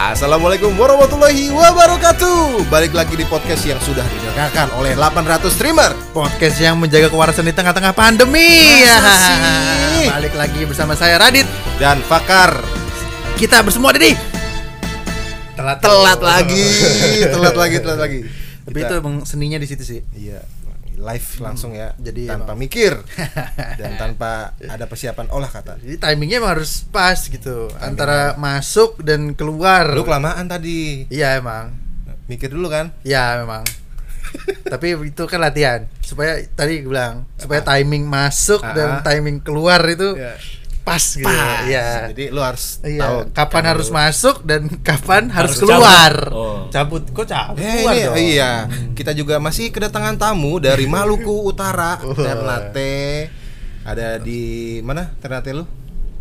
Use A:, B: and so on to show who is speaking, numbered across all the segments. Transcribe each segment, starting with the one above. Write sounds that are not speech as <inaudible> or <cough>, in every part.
A: Assalamualaikum warahmatullahi wabarakatuh Balik lagi di podcast yang sudah didengarkan oleh 800 streamer
B: Podcast yang menjaga kewarasan di tengah-tengah pandemi. <laughs>
A: Masa sih?
B: Balik lagi bersama saya Radit.
A: Dan Fakar
B: Kita bersemua Didi. Telat
A: Telat lagi,
B: <laughs>
A: telat lagi, telat lagi
B: Tapi
A: Kita-
B: itu emang seninya di situ sih.
A: Iya live langsung ya
B: Hmm, jadi
A: tanpa
B: emang- <laughs>
A: mikir dan tanpa ada persiapan olah kata
B: Jadi timingnya emang harus pas gitu antara masuk dan keluar.
A: lu kelamaan tadi
B: Iya emang.
A: mikir dulu kan
B: Iya <laughs> memang. Tapi itu kan latihan supaya tadi gue bilang supaya timing masuk
A: Ah.
B: dan timing keluar itu
A: Iya.
B: pas gitu.
A: Pas.
B: Iya.
A: jadi lu harus
B: Iya,
A: tahu
B: kapan harus
A: lu-
B: masuk dan <laughs> kapan harus, Oh. keluar.
C: cabut kok cabut
A: Eh,
C: keluar
A: ini-
C: dong
A: iya, kita juga masih kedatangan tamu dari Maluku Utara, Ternate. Ada di mana Ternate lu?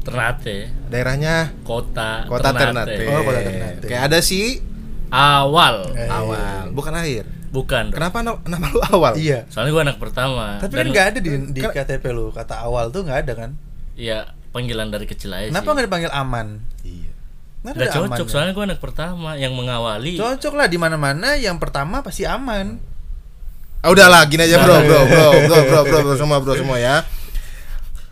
D: Ternate
A: Daerahnya
D: kota
A: Kota Ternate.
B: Oh, Kota Ternate.
A: Kayak ada sih
D: awal
B: Eh,
A: awal, bukan akhir.
D: bukan dong.
A: Kenapa na- nama lu awal?
B: Iya.
D: soalnya gua anak pertama
B: Tapi
D: Dan
B: kan nggak ada di, di KTP lu kata awal tuh nggak ada kan?
D: ya panggilan dari kecil aja
B: Kenapa
D: sih
B: nggak dipanggil aman?
A: Iya.
B: Nggak
D: Nggak
B: ada
D: cocok
B: amannya.
D: soalnya gua anak pertama yang mengawali
B: Cocok lah di mana-mana yang pertama pasti aman.
A: Ah, udahlah, gini aja bro, bro, bro, bro, bro, bro, bro, semua bro semua ya.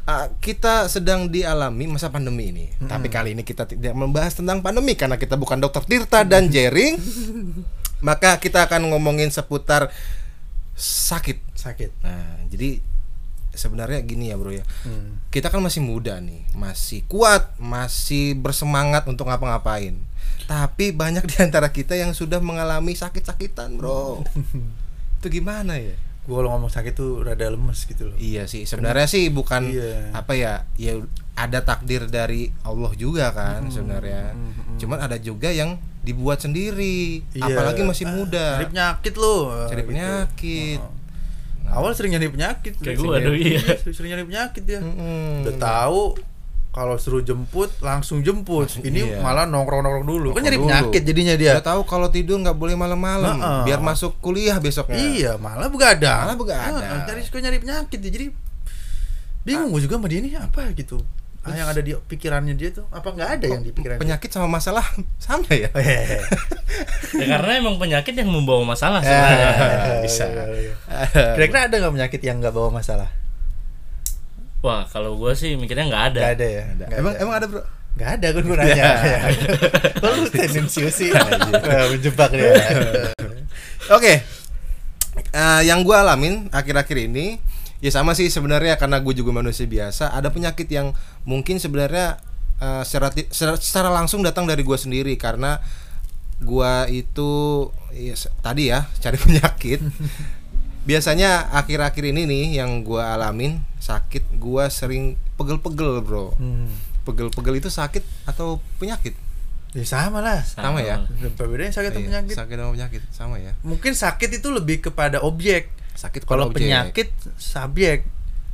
A: Ah, kita sedang dialami masa pandemi ini. Tapi kali ini kita tidak membahas tentang pandemi karena kita bukan dokter Tirta dan Jering. Maka kita akan ngomongin seputar sakit.
B: Sakit.
A: Nah, jadi sebenarnya gini ya, Bro ya.
B: Hmm.
A: Kita kan masih muda nih, masih kuat, masih bersemangat untuk ngapa-ngapain. Tapi banyak di antara kita yang sudah mengalami sakit-sakitan,
B: <laughs>
A: Bro. Itu gimana ya?
B: Gua kalau ngomong sakit tuh rada lemes gitu loh.
A: Iya sih, sebenarnya sih bukan
B: Iya.
A: apa ya, ya ada takdir dari Allah juga kan sebenarnya. Cuman ada juga yang dibuat sendiri,
B: Iya.
A: apalagi masih
B: Ah,
A: muda.
B: Cari penyakit lu. Ah,
A: Cari
B: gitu.
A: penyakit.
B: Oh. Awal sering nyari penyakit.
D: Kayak
B: Sering
D: gua, aduh,
B: nyari-
D: iya.
B: Sering sering nyari penyakit dia.
A: Mm-mm.
B: Udah tahu kalau suruh jemput langsung jemput.
A: iya.
B: Ini malah nongkrong-nongkrong dulu. Kan nyari
A: dulu.
B: penyakit jadinya dia.
A: Udah tahu kalau tidur nggak boleh malam-malam,
B: Nah, eh.
A: biar masuk kuliah besoknya.
B: Iya, malah begadang.
A: Malah begadang.
B: Heeh, Cari suka nyari penyakit dia, jadi bingung
A: Ah.
B: gue juga sama dia ini apa gitu. Ah, yang ada di pikirannya dia tuh apa nggak ada yang di pikirannya? <laughs> Eh,
A: Penyakit sama masalah <laughs> sama ya.
B: Hehehe.
D: ya, karena emang penyakit yang membawa masalah
B: <laughs>
D: sebenarnya
B: Eh,
A: Bisa. <laughs>
B: iya, iya. Kira-kira ada nggak penyakit yang nggak bawa masalah?
D: wah kalau gua sih mikirnya nggak ada
B: Nggak ada ya. Nggak
A: emang Iya.
B: ada.
A: emang ada bro?
B: Nggak ada gue
A: <laughs>
B: nanya. <laughs> Kalau lu tendensius sih,
A: Iya.
B: Wah, menjebak
A: <laughs>
B: dia.
A: Oke. Eh, yang gue alamin akhir-akhir ini ya sama sih sebenarnya karena gue juga manusia biasa ada penyakit yang mungkin sebenarnya eh, secara, ti- secara secara langsung datang dari gue sendiri karena gue itu ya, se- tadi ya cari <laughs> penyakit biasanya akhir-akhir ini nih yang gue alamin sakit gue sering pegel-pegel bro
B: Hmm.
A: pegel-pegel itu sakit atau penyakit
B: Ya sama lah.
A: sama ya?
B: Apa bedanya sakit atau
A: Iya,
B: penyakit?
A: sakit sama penyakit sama ya
B: Mungkin sakit itu lebih kepada objek.
A: sakit
B: Kalau
A: objek.
B: penyakit subjek,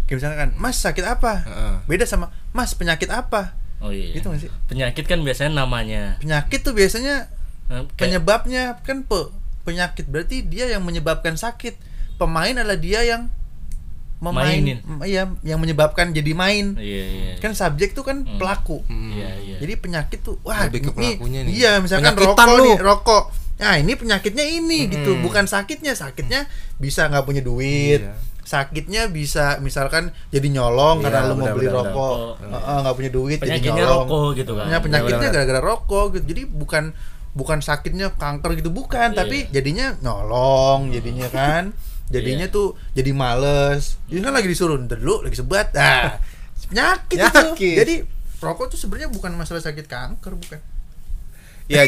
B: kayak misalnya kan, Mas sakit apa?
A: Heeh.
B: Beda sama Mas penyakit apa?
D: oh iya
B: Gitu nggak sih?
D: penyakit kan biasanya namanya
B: Penyakit tuh biasanya
D: Nah, kayak-
B: penyebabnya kan pe penyakit berarti dia yang menyebabkan sakit. Pemain adalah dia yang memain,
D: Mainin.
B: m- iya, yang menyebabkan jadi main.
D: iya iya
B: Kan subjek tuh kan
D: Hmm.
B: pelaku.
D: iya iya
B: Jadi penyakit tuh wah
A: Lebih ke
B: ini-
A: pelakunya nih.
B: Iya, misalkan
A: Penyakitan
B: rokok
A: lu. Hmm.
B: nih, rokok. Nah, ini penyakitnya ini gitu, bukan sakitnya. Sakitnya bisa nggak punya duit.
A: Iya.
B: Sakitnya bisa misalkan jadi
A: Iya,
B: nyolong karena lu mau
A: benar,
B: beli
A: benar,
B: rokok,
D: benar.
B: Heeh, nggak punya duit jadi
D: Iya. Penyakitnya
B: nyolong.
D: rokok gitu kan.
B: Ya, penyakitnya
A: Benar, benar.
B: gara-gara rokok gitu. Jadi bukan bukan sakitnya kanker gitu bukan,
D: Iya.
B: tapi jadinya nyolong, jadinya kan.
D: <laughs>
B: Jadinya tuh jadi males. Jadi kan lagi disuruh "Ntar dulu lagi sebat. Nah, penyakit
A: Gitu
B: itu.
A: Penyakit.
B: Jadi rokok tuh sebenarnya bukan masalah sakit kanker bukan
A: ya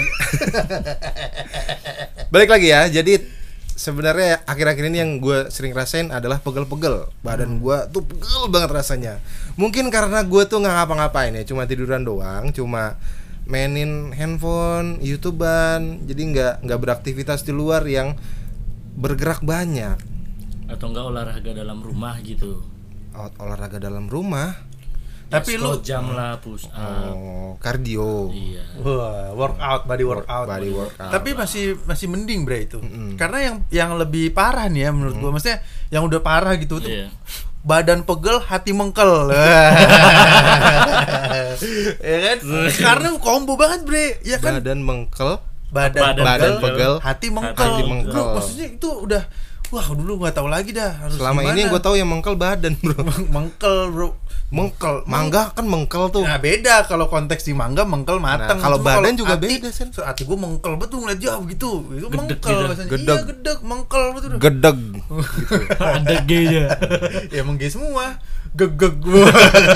B: <laughs>
A: balik lagi ya jadi sebenarnya akhir-akhir ini yang gue sering rasain adalah pegel-pegel
B: Hmm.
A: badan gue tuh pegel banget rasanya mungkin karena gue tuh nggak ngapa-ngapain ya cuma tiduran doang cuma mainin handphone youtubean jadi nggak nggak beraktivitas di luar yang bergerak banyak
D: atau enggak olahraga dalam rumah gitu
A: Ol- olahraga dalam rumah
B: Tapi lu-
D: jam lah push up
A: oh kardio
D: iya <laughs>
B: wah workout body workout
A: body workout.
B: tapi masih masih mending bre itu karena yang yang lebih parah nih ya menurut gua maksudnya yang udah parah gitu tuh
D: iya
B: badan pegel hati
A: <laughs>
B: mengkel kan?
A: Iya
B: ya kan karena combo banget bre ya kan
A: Badan mengkel.
B: badan,
D: Badan
B: pegel,
A: pegel,
B: hati mengkel
D: hati
A: mengkel.
B: Lu maksudnya itu udah wah dulu nggak tahu lagi dah harus
A: Selama ini
B: gimana.
A: gue tahu yang mengkel badan
B: <laughs>
A: bro.
B: mengkel bro
A: Mengkel, mangga kan mengkel tuh.
B: Nah beda kalau konteks di mangga mengkel
A: Nah,
B: matang.
A: kalau
B: Cuma
A: badan juga
B: hati,
A: beda, Sen.
B: so, Hati gue mengkel betul ngeliat jauh gitu. Itu
D: Gedeg
B: mengkel
D: gitu.
B: rasanya.
A: Gedeg.
B: Iya gedeg mengkel betul.
A: Gedeg.
D: ada gayanya
B: <laughs> ya emang gay semua. Gegeg.
A: <laughs>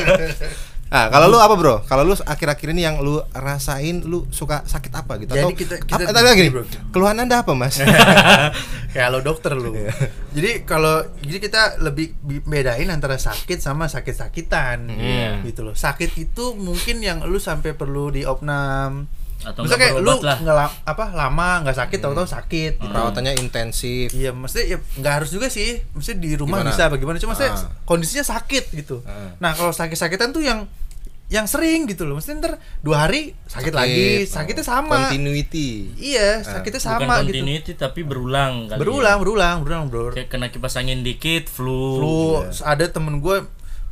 A: Nah, kalau lu apa bro? Kalau lu akhir-akhir ini yang lu rasain lu suka sakit apa gitu?
B: Jadi
A: Atau
B: kita- kita-
A: apa, tadi gini,
B: bro.
A: keluhan anda apa
B: <laughs>
A: mas?
B: Kayak lo dokter lu.
A: Iya.
B: jadi kalau jadi kita lebih bi- bedain antara sakit sama sakit-sakitan.
D: Iya.
B: Gitu loh. Sakit itu mungkin yang lu sampai perlu diopnam.
D: atau
B: Misalnya
D: nggak
B: kayak lu
D: berobat lah Hmm.
B: ngela- apa lama nggak sakit tahu-tahu sakit gitu.
A: Perawatannya intensif.
B: Iya, maksudnya ya nggak harus juga sih. Maksudnya di rumah
A: Gimana?
B: bisa bagaimana? Cuma saya
A: Ah.
B: kondisinya sakit gitu.
A: Ah.
B: Nah, kalau sakit-sakitan tuh yang yang sering gitu loh. Maksudnya ntar dua hari sakit,
A: oh.
B: lagi, sakitnya sama.
A: Continuity.
B: Iya, sakitnya
D: bukan
B: sama gitu.
D: continuity tapi berulang kali
B: Berulang, berulang, berulang, bro.
D: ya. kayak kena kipas angin dikit flu,
B: Flu,
A: Iya.
B: ada temen gue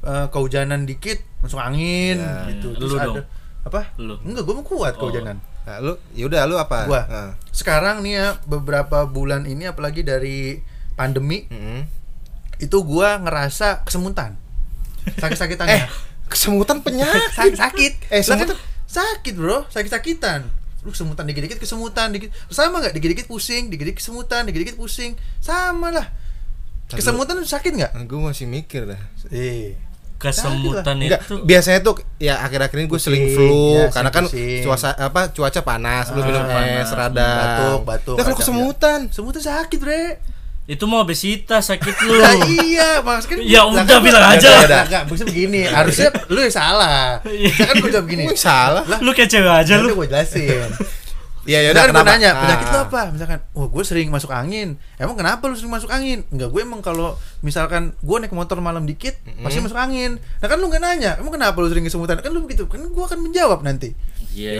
B: eh, kehujanan dikit masuk angin
A: Iya.
B: gitu.
D: Lu
B: Terus ada
D: dong?
B: apa?
D: Lu.
B: Enggak, gue mau kuat
D: Oh.
B: kehujanan.
A: Nah, lu, yaudah lu apa?
B: Gua.
A: Ah.
B: Sekarang nih ya beberapa bulan ini apalagi dari pandemi
A: Mm-mm.
B: itu gua ngerasa kesemutan sakit-sakitannya
A: Eh, kesemutan penyakit.
B: sakit sakit
A: Eh,
B: <laughs> eh
A: semut-
B: sakit bro sakit sakitan lu kesemutan dikit-dikit kesemutan dikit sama nggak dikit-dikit pusing dikit-dikit kesemutan dikit-dikit pusing sama lah kesemutan lu sakit nggak
A: gue Nah, masih mikir dah.
B: eh
D: kesemutan
B: Iya.
A: Enggak,
D: itu
A: biasanya tuh ya akhir-akhir ini gue
B: Pusing,
A: seling flu
B: ya,
A: karena kan
B: pusing.
A: cuaca apa cuaca panas, lu minum es rada.
B: Ah, batuk, batuk,
A: Nah, kalau
B: iya. kacang,
A: kesemutan.
B: kesemutan sakit bre
D: itu mau obesitas sakit lu
B: Lah iya mas kan
D: Ya
B: Lah,
D: udah,
B: kan-
D: bilang aja.
B: Nggak, nggak, nggak, maksudnya begini harusnya lu yang
D: <laughs>
B: salah ya kan gue bilang begini
A: Gua yang salah.
D: lu kayak cewek Iya. aja
B: Nanti
D: lu
B: gue jelasin
A: Iya,
B: Ya
A: yaudah
B: udah
A: kenapa?
B: nanya,
A: Ah.
B: penyakit lu apa? Misalkan, wah gue sering masuk angin. Emang kenapa lu sering masuk angin? Enggak, gue emang kalau misalkan gue naik motor malam dikit, pasti masuk angin. Nah kan lu nggak nanya, emang kenapa lu sering kesemutan? Kan lu begitu, kan gue akan menjawab nanti.
D: iya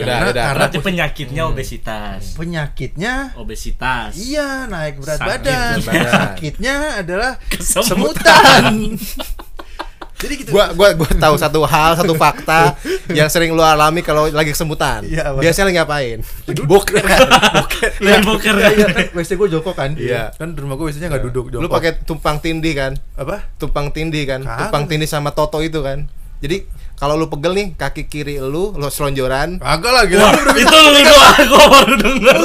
A: Udah,
B: karena
A: udah.
B: karena
D: berarti penyakitnya obesitas
B: penyakitnya
D: obesitas
B: Iya, naik berat
D: Sakit.
B: badan.
A: Berat badan.
B: Sakitnya adalah
A: <laughs>
D: Kesemutan.
B: kesemutan. Jadi gitu.
A: gua gua gua tahu satu hal satu
B: <laughs>
A: fakta yang sering lu alami kalau lagi kesemutan
B: Iya, apa?
A: biasanya lagi ngapain buk <laughs>
D: lu yang boker
B: Iya, iya, kan WC gue joko kan.
A: Iya.
B: Kan di rumah gue biasanya nggak <laughs> duduk joko.
A: lu pakai tumpang tindih kan
B: apa?
A: tumpang tindih kan
B: Kagak.
A: tumpang tindih sama toto itu kan jadi kalau lu pegel nih kaki kiri lu lu selonjoran
B: Kagak lah
A: gitu.
B: gila.
D: Wah, itu lu
B: <laughs>
D: doang, gua baru denger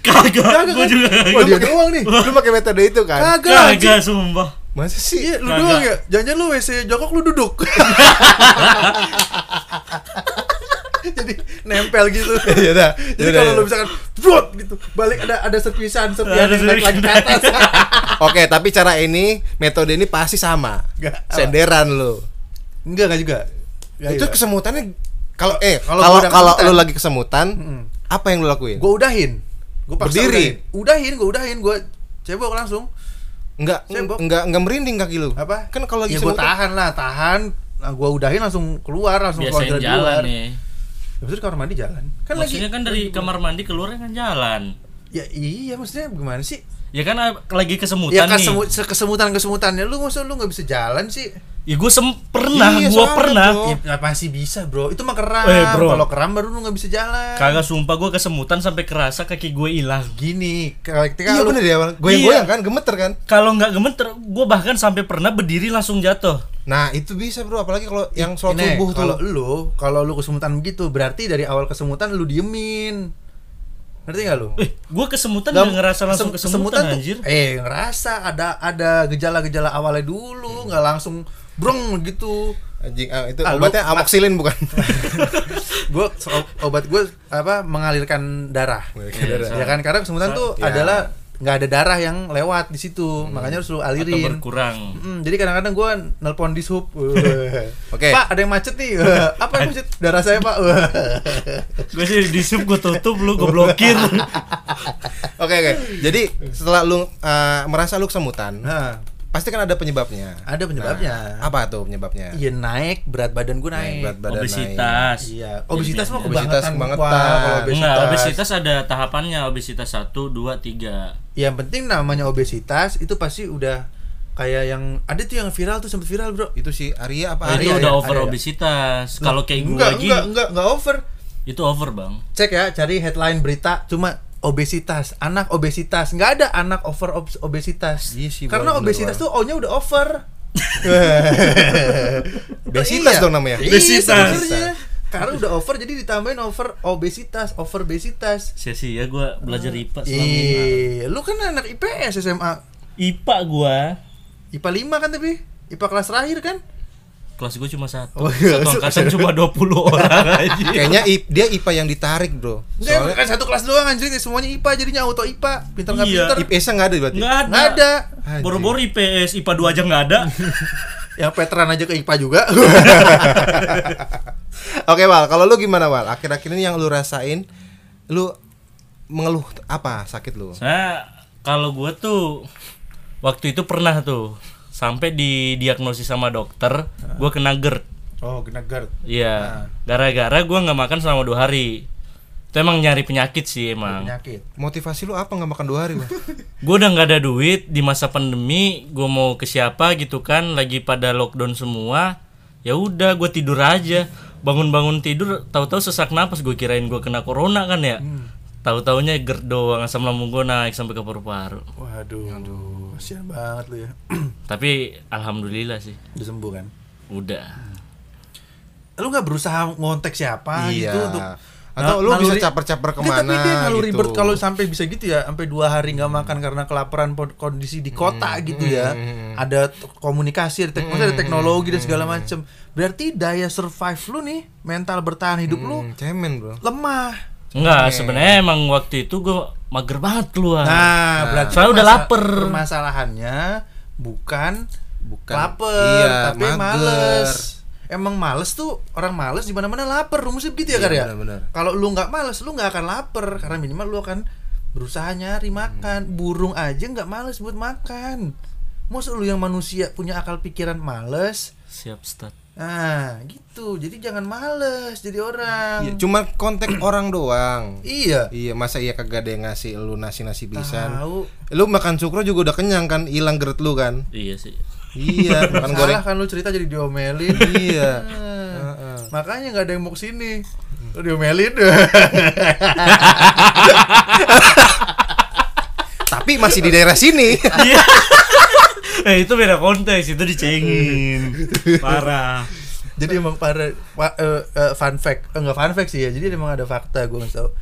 D: Kagak,
B: Kagak,
D: gua
B: kan?
D: juga
B: Wah, dia
A: Lu pakai-
B: doang nih.
A: <laughs> lu pakai metode itu kan
B: Kagak. anjing.
D: Kagak, sumpah
A: masa sih
B: Iya, lu
D: Kagak.
B: doang ya. Jangan-jangan lu WC jokok lu duduk. Jadi nempel gitu.
A: <laughs> Iya dah.
B: Jadi
A: Iya dah,
B: kalau
A: iya.
B: lu misalkan brot gitu, balik ada ada serpisan, serpian
D: Ada
B: yang naik lagi ke
D: serpisan.
A: <laughs>
B: atas.
A: oke tapi cara ini metode ini pasti sama
B: Nggak.
A: senderan lu
B: Enggak enggak juga. Enggak
A: itu
B: juga.
A: kesemutannya kalau eh
B: Kalau
A: kalau
B: gua udah
A: kalau
B: kesemutan.
A: lu lagi kesemutan apa yang lu lakuin
B: gua udahin. Gua paksa
A: Berdiri.
B: Udahin, udahin gua udahin, gua cebok langsung.
A: Enggak,
B: Sembok.
A: enggak, enggak merinding kaki lu.
B: Apa?
A: Kan kalau lagi
B: ya, gua
A: semutan-
B: tahan lah, tahan. Nah, gua udahin langsung keluar, langsung
D: Biasanya
B: keluar jalan
D: jalan
B: luar.
D: nih
B: Habis itu ke kamar mandi jalan. Kan
D: Maksudnya
B: lagi
D: kan dari kamar mandi keluar kan jalan
B: Ya iya, maksudnya gimana sih?
D: Ya kan ah, lagi kesemutan
B: ya
D: nih
B: kesemu kesemutan kesemutannya lu maksud lu nggak bisa jalan sih
D: Ya gua sem pernah,
A: Iya,
D: gua
A: soalnya,
D: pernah
A: bro. Oh.
B: ya masih bisa bro itu mah keram
D: Eh, bro.
B: kalau keram baru lu nggak bisa jalan
D: Kagak sumpah gua kesemutan sampai kerasa kaki gua hilang
B: gini ketika
A: Iya
B: lu
A: bener ya, goyang-goyang
D: Iya.
A: kan, gemeter kan.
D: Kalau nggak gemeter, gua bahkan sampai pernah berdiri langsung jatuh
A: Nah itu bisa bro, apalagi kalau yang soal
B: Ini,
A: tubuh tuh.
B: kalau lu kalau lu kesemutan begitu berarti dari awal kesemutan lu diemin ngerti nggak lu
D: Eh, gua kesemutan
B: Nggak-
D: nggak ngerasa langsung
B: kesem-
D: kesemutan,
B: tuh-
D: anjir
B: eh ngerasa ada ada gejala-gejala awalnya dulu nggak langsung brong gitu
A: Anjing, ah, itu
B: Ah, lu-
A: obatnya amoksilin bukan? <laughs>
B: <laughs> gue obat gue apa mengalirkan darah
A: Mengalirkan
B: Iya,
A: darah.
B: ya kan karena kesemutan tuh
A: Ya. Hmm.
B: adalah nggak ada darah yang lewat di situ makanya harus lu
D: Atau
B: alirin
D: berkurang
B: Mm, jadi kadang-kadang gue nelpon di sub
A: <laughs> Oke.
B: pak ada yang macet
A: <laughs>
B: nih apa yang macet darah saya pak
D: gue sih di sub gue tutup
B: <laughs>
D: lu gue blokir
A: Oke oke. Jadi setelah lu eh, merasa lu kesemutan,
B: nah,
A: pasti kan ada penyebabnya.
B: Ada penyebabnya.
A: Nah, apa tuh penyebabnya?
B: iya naik berat badan gue naik,
A: Berat badan naik.
D: obesitas
B: iya obesitas mah
D: Jadi
A: Obesitas
B: kebangetan
A: kebangetan.
B: Wah, kalau obesitas.
D: Enggak, obesitas ada tahapannya obesitas 1, 2, 3
B: yang penting namanya obesitas itu pasti udah kayak yang ada tuh yang viral tuh sempet viral bro
A: itu si Arya apa
B: Ah,
A: Arya
D: itu
B: iya,
D: udah
A: ya?
D: over
A: Arya ya?
D: obesitas. Kalau kayak gue
B: enggak,
D: lagi
B: enggak enggak enggak over
D: itu over, Bang.
B: cek ya cari headline berita cuma obesitas anak obesitas nggak ada anak over obs- obesitas
A: Iya sih,
B: karena
A: bener,
B: obesitas
A: bener.
B: tuh o nya udah over
A: <laughs> Besitas dong namanya.
B: obesitas
D: Besitas.
B: Iya. karena udah over jadi ditambahin over obesitas over obesitas
D: Sesi ya gue
B: Ah,
D: belajar
B: iya.
D: IPA selama ini.
B: Ih, lu kan anak IPS SMA
D: IPA gue
B: IPA 5 kan tapi IPA kelas terakhir kan
D: kelas gue cuma satu.
B: Oh, iya.
D: satu angkatan cuma 20 orang aja.
A: Kayaknya I- dia IPA yang ditarik, Bro.
B: Enggak, emang
A: Soalnya
B: kan satu kelas doang anjir semuanya IPA jadinya auto IPA pintar nggak
D: Iya.
B: pintar
A: IPS-nya nggak ada berarti.
D: Enggak ada.
B: nggak ada
A: Anjing.
D: Boro-boro IPS IPA 2 aja nggak ada.
B: yang Petran aja ke IPA juga
A: Oke, Wal, kalau lu gimana, Wal? Akhir-akhir ini yang lu rasain lu mengeluh apa sakit lu?
D: Saya kalau gue tuh waktu itu pernah tuh sampai didiagnosis sama dokter gue kena GERD.
B: oh kena guard
D: Iya. Gara-gara gue nggak makan selama dua hari. Itu emang nyari penyakit sih emang.
B: penyakit
A: Motivasi lu apa nggak makan dua hari, <laughs> Wal?
D: Gue udah nggak ada duit di masa pandemi. Gue mau ke siapa gitu kan? Lagi pada lockdown semua. Ya udah, gue tidur aja. Bangun-bangun tidur, tahu-tahu sesak napas. Gue kirain gue kena corona kan ya. Tahu-taunya GERD doang asam lambung gue naik sampai ke paru-paru.
B: waduh aduh kasihan banget lu ya <clears throat>
D: Tapi alhamdulillah sih,
B: udah sembuh kan
D: udah.
B: lu nggak berusaha ngontek siapa
A: Iya.
B: gitu untuk
A: Atau lu
B: Nah,
A: bisa
B: naluri-
A: caper-caper
B: Nggak, tapi
A: kemana
B: dia naluri
A: gitu.
B: bird kalau sampai bisa gitu ya sampai dua hari nggak makan karena kelaparan pod- kondisi di kota
A: Hmm,
B: gitu ya ada t- komunikasi ada, tek- maksudnya ada teknologi
A: hmm,
B: dan segala macem berarti daya survive lu nih mental bertahan hidup lu
A: Hmm, cemen, Bro.
B: lemah
D: Enggak, sebenarnya emang waktu itu gue mager banget keluar.
B: nah berarti
D: Soalnya udah
B: permasa-
D: lapar.
B: permasalahannya bukan
A: Bukan.
B: lapar
A: Iya,
B: tapi
A: mager.
B: males emang males tuh orang males di mana mana lapar rumusnya begitu ya
A: Iya,
B: Kar, ya
A: benar-benar.
B: kalau lu nggak males lu nggak akan lapar karena minimal lu akan berusaha nyari
A: Hmm.
B: makan burung aja nggak males buat makan Maksud lu yang manusia punya akal pikiran males
D: Siap start.
B: nah gitu jadi jangan males
A: Iya,
B: jadi orang
A: Cuman <clears throat> kontak orang doang.
B: iya
A: Iya, masa iya kagak ada yang ngasih lu nasi-nasi pisan.
B: tahu
A: Lu makan sukro juga udah kenyang kan, hilang gerd lu kan?
D: Iya sih.
A: <laughs> Iya, makan goreng.
B: salah kan lu cerita jadi diomelin
A: <laughs> Iya.
B: Ah.
A: Heeh.
B: Makanya nggak ada yang mau kesini Lu diomelin <laughs>
A: Tapi masih di daerah sini.
D: Iya. <laughs> eh itu beda konteks, itu dicengin. <laughs> Parah.
B: Jadi emang para fa- eh, eh, fun fact Eh, Nggak fun fact sih ya Jadi emang ada fakta gue nggak tahu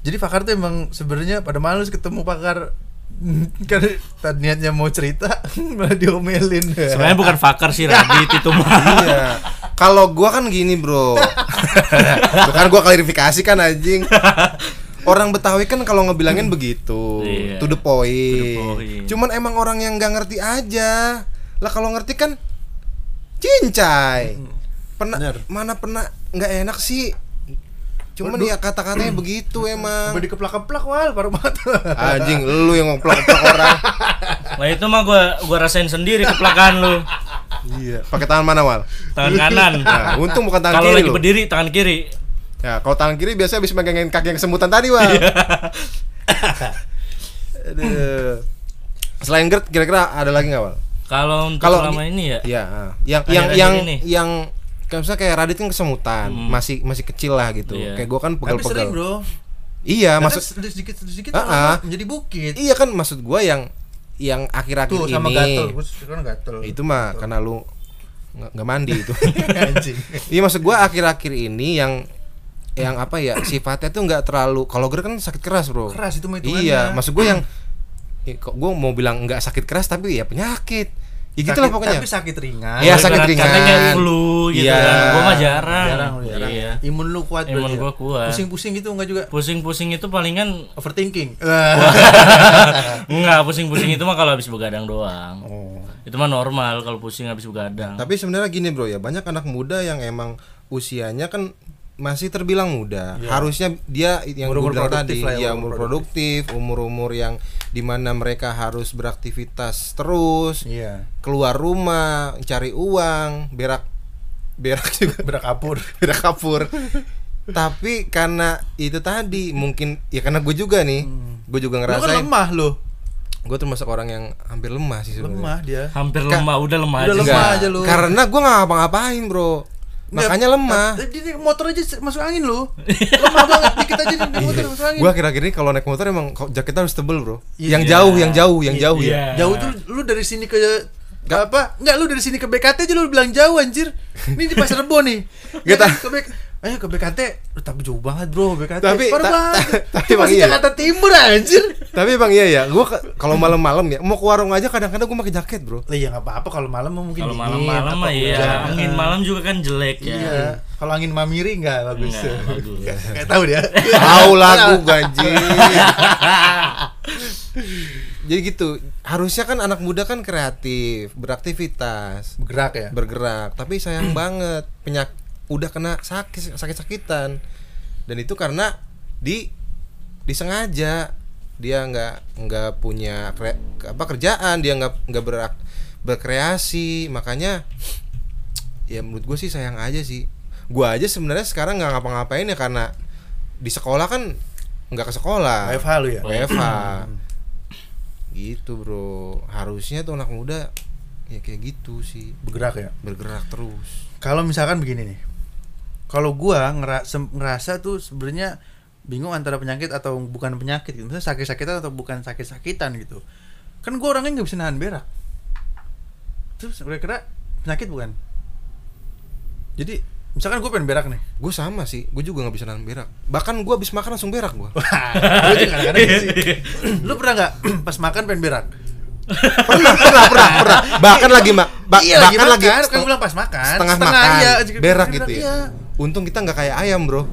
B: Jadi Fakar tuh emang sebenarnya pada males ketemu Fakar <laughs> Karena tadi niatnya mau cerita <laughs> Malah diomelin
D: Sebenarnya bukan fakar sih Radit itu <laughs> mah.
A: <laughs> Iya. Kalau gua kan gini, Bro. Bukan gua klarifikasi <laughs> kan anjing. Orang Betawi kan kalau ngebilangin begitu,
D: Iya.
A: to the point.
D: To the point.
A: Cuman emang orang yang nggak ngerti aja. Lah kalau ngerti kan cincai. Pernah
B: Bener.
A: mana pernah nggak enak sih. Cuman ya kata-katanya begitu emang.
B: Sampai dikeplak-keplak wal Parah banget
A: Anjing, lu yang ngoplok-ngoplok orang.
D: Nah itu mah gue gua rasain sendiri kepelakan lu.
A: <laughs> Iya. Pakai tangan mana, Wal?
D: Tangan kanan.
A: Nah, untung bukan tangan
D: Kalau
A: kiri.
D: lagi
A: lu.
D: berdiri tangan kiri.
A: Ya, kalau tangan kiri biasanya habis megangin kaki yang kesemutan tadi, Wal.
D: Iya.
A: Aduh. Selain GERD kira-kira ada lagi nggak, Wal?
D: Kalau untuk
A: Kalau
D: selama
A: di-
D: ini ya.
A: Iya, ah. yang
D: Akhir-akhir
A: yang yang
D: ini. Hmm.
A: yang kayak misalnya kayak Radit kan kesemutan, masih masih kecil lah gitu.
D: Iya.
A: Kayak gua kan
B: <laughs> Tapi sering
A: pegel-pegel.
B: bro
A: Iya,
B: Maksud
A: maksud
B: sedikit sedikit
A: Ah, ah.
B: malah menjadi bukit
A: Iya kan maksud gua yang yang akhir-akhir
B: Tuh
A: ini.
B: sama gatel Gue kan gatel
A: Iya, Itu mah karena lu nggak nggak mandi itu.
B: <laughs> Anjing
A: Iya maksud gua akhir-akhir ini yang yang apa ya sifatnya tuh nggak terlalu kalau gue kan sakit keras bro
B: Keras itu mah hitungannya.
A: iya maksud gue yang ya, kok gue mau bilang nggak sakit keras tapi ya penyakit ya gitu lah
B: Sakit-
A: pokoknya
B: Tapi sakit ringan
A: Iya,
D: Kalau
A: sakit
D: ibarat kata
A: ringan.
D: kayak flu gitu
A: Iya.
D: kan. Gue mah jarang.
B: jarang lu jarang
D: Iya.
B: imun lu kuat
D: Imun
B: berarti ya?
D: gua kuat.
B: pusing-pusing gitu enggak juga
D: Pusing-pusing itu
A: <laughs>
D: palingan
B: overthinking
D: Enggak, pusing-pusing itu mah kalau habis begadang doang. Itu mah normal kalau pusing habis begadang.
A: tapi sebenarnya gini bro ya banyak anak muda yang emang usianya kan masih terbilang muda harusnya dia yang
B: Iya. Umur-umur
A: gue bilang
B: produktif
A: tadi
B: lah ya,
A: ya
B: umur
A: umur produktif umur-umur yang dimana mereka harus beraktivitas terus
B: iya
A: keluar rumah cari uang berak berak <laughs> juga
B: berak kapur
A: udah kapur tapi karena itu tadi mungkin ya karena gue juga nih gue juga
B: lu kan
A: ngerasain
B: lemah lu
A: gue termasuk orang yang hampir lemah sih sebenarnya.
B: lemah dia
D: hampir
A: Ka-
D: lemah udah lemah
B: udah
D: aja
B: lemah.
A: Enggak,
B: aja lu.
A: Karena gue nggak ngapa-ngapain bro, makanya lemah.
B: Nah, dia- dia motor aja se- masuk angin
A: <laughs>
B: lu lemah banget dikit aja
A: Iya.
B: di motor masuk angin
A: Gue akhir-akhir ini kalau naik motor emang kok- jaketnya harus tebel bro.
B: Iya.
A: Yang jauh, yang jauh, yang jauh
D: Iya.
A: ya.
B: jauh tuh lu dari sini ke Gak apa? Enggak, lu dari sini ke BKT aja lu bilang jauh anjir. Ini di Pasar Rebo
A: <laughs>
B: nih.
A: Gak
B: Dari
A: tahu.
B: Ke BK, ayo ke BKT. Lu tapi jauh banget, Bro, BKT.
A: Tapi-
B: Parah
A: ta-
B: banget.
A: ta- tapi
B: Itu
A: emang
B: masih
A: iya.
B: Jakarta Timur anjir.
A: Tapi bang iya ya, gue kalau malam-malam ya mau ke warung aja kadang-kadang gue pakai jaket bro.
B: Lah ya enggak apa-apa kalau malam mah mungkin
D: kalau
B: dingin,
D: malam-malam
B: apa
D: mah
B: hujan.
D: iya angin malam juga kan jelek ya
B: Iya. Kalau angin mamiri enggak bagus.
D: Nggak,
A: <laughs>
D: bagus.
B: Kayak tahu dia.
A: Tahu lagu ganji. Jadi gitu, harusnya kan anak muda kan kreatif, beraktivitas,
B: Bergerak ya.
A: bergerak. Tapi sayang <clears throat> banget penyak udah kena sakit sakit-sakitan. Dan itu karena di disengaja dia nggak nggak punya kre- ke- apa kerjaan, dia nggak nggak berak berkreasi, makanya ya menurut gue sih sayang aja sih gue aja sebenarnya sekarang nggak ngapa-ngapain ya karena di sekolah kan nggak ke sekolah
B: WFH lu ya?
A: WFH. gitu bro harusnya tuh anak muda ya kayak gitu sih
B: Bergerak ya.
A: bergerak terus
B: Kalau misalkan begini nih. Kalau gua ngera- sem- ngerasa tuh sebenarnya bingung antara penyakit atau bukan penyakit gitu. Misalnya sakit-sakitan atau bukan sakit-sakitan gitu. Kan gua orangnya nggak bisa nahan berak. Terus kira-kira penyakit bukan? Jadi misalkan gue pengen
A: <laughs>
B: berak nih.
A: gue sama sih gue juga nggak bisa nahan berak bahkan gue habis makan langsung berak gue
B: Wah, gua juga kadang-kadang gitu sih. Lu pernah nggak pas makan pengen berak?
A: <laughs> pernah pernah pernah pernah bahkan lagi mak ba-
B: iya, lagi
A: bahkan
B: makan,
A: lagi
B: kan gue bilang pas makan.
A: setengah, makan
B: iya,
A: berak
B: iya,
A: gitu ya
B: iya.
A: untung kita nggak kayak ayam bro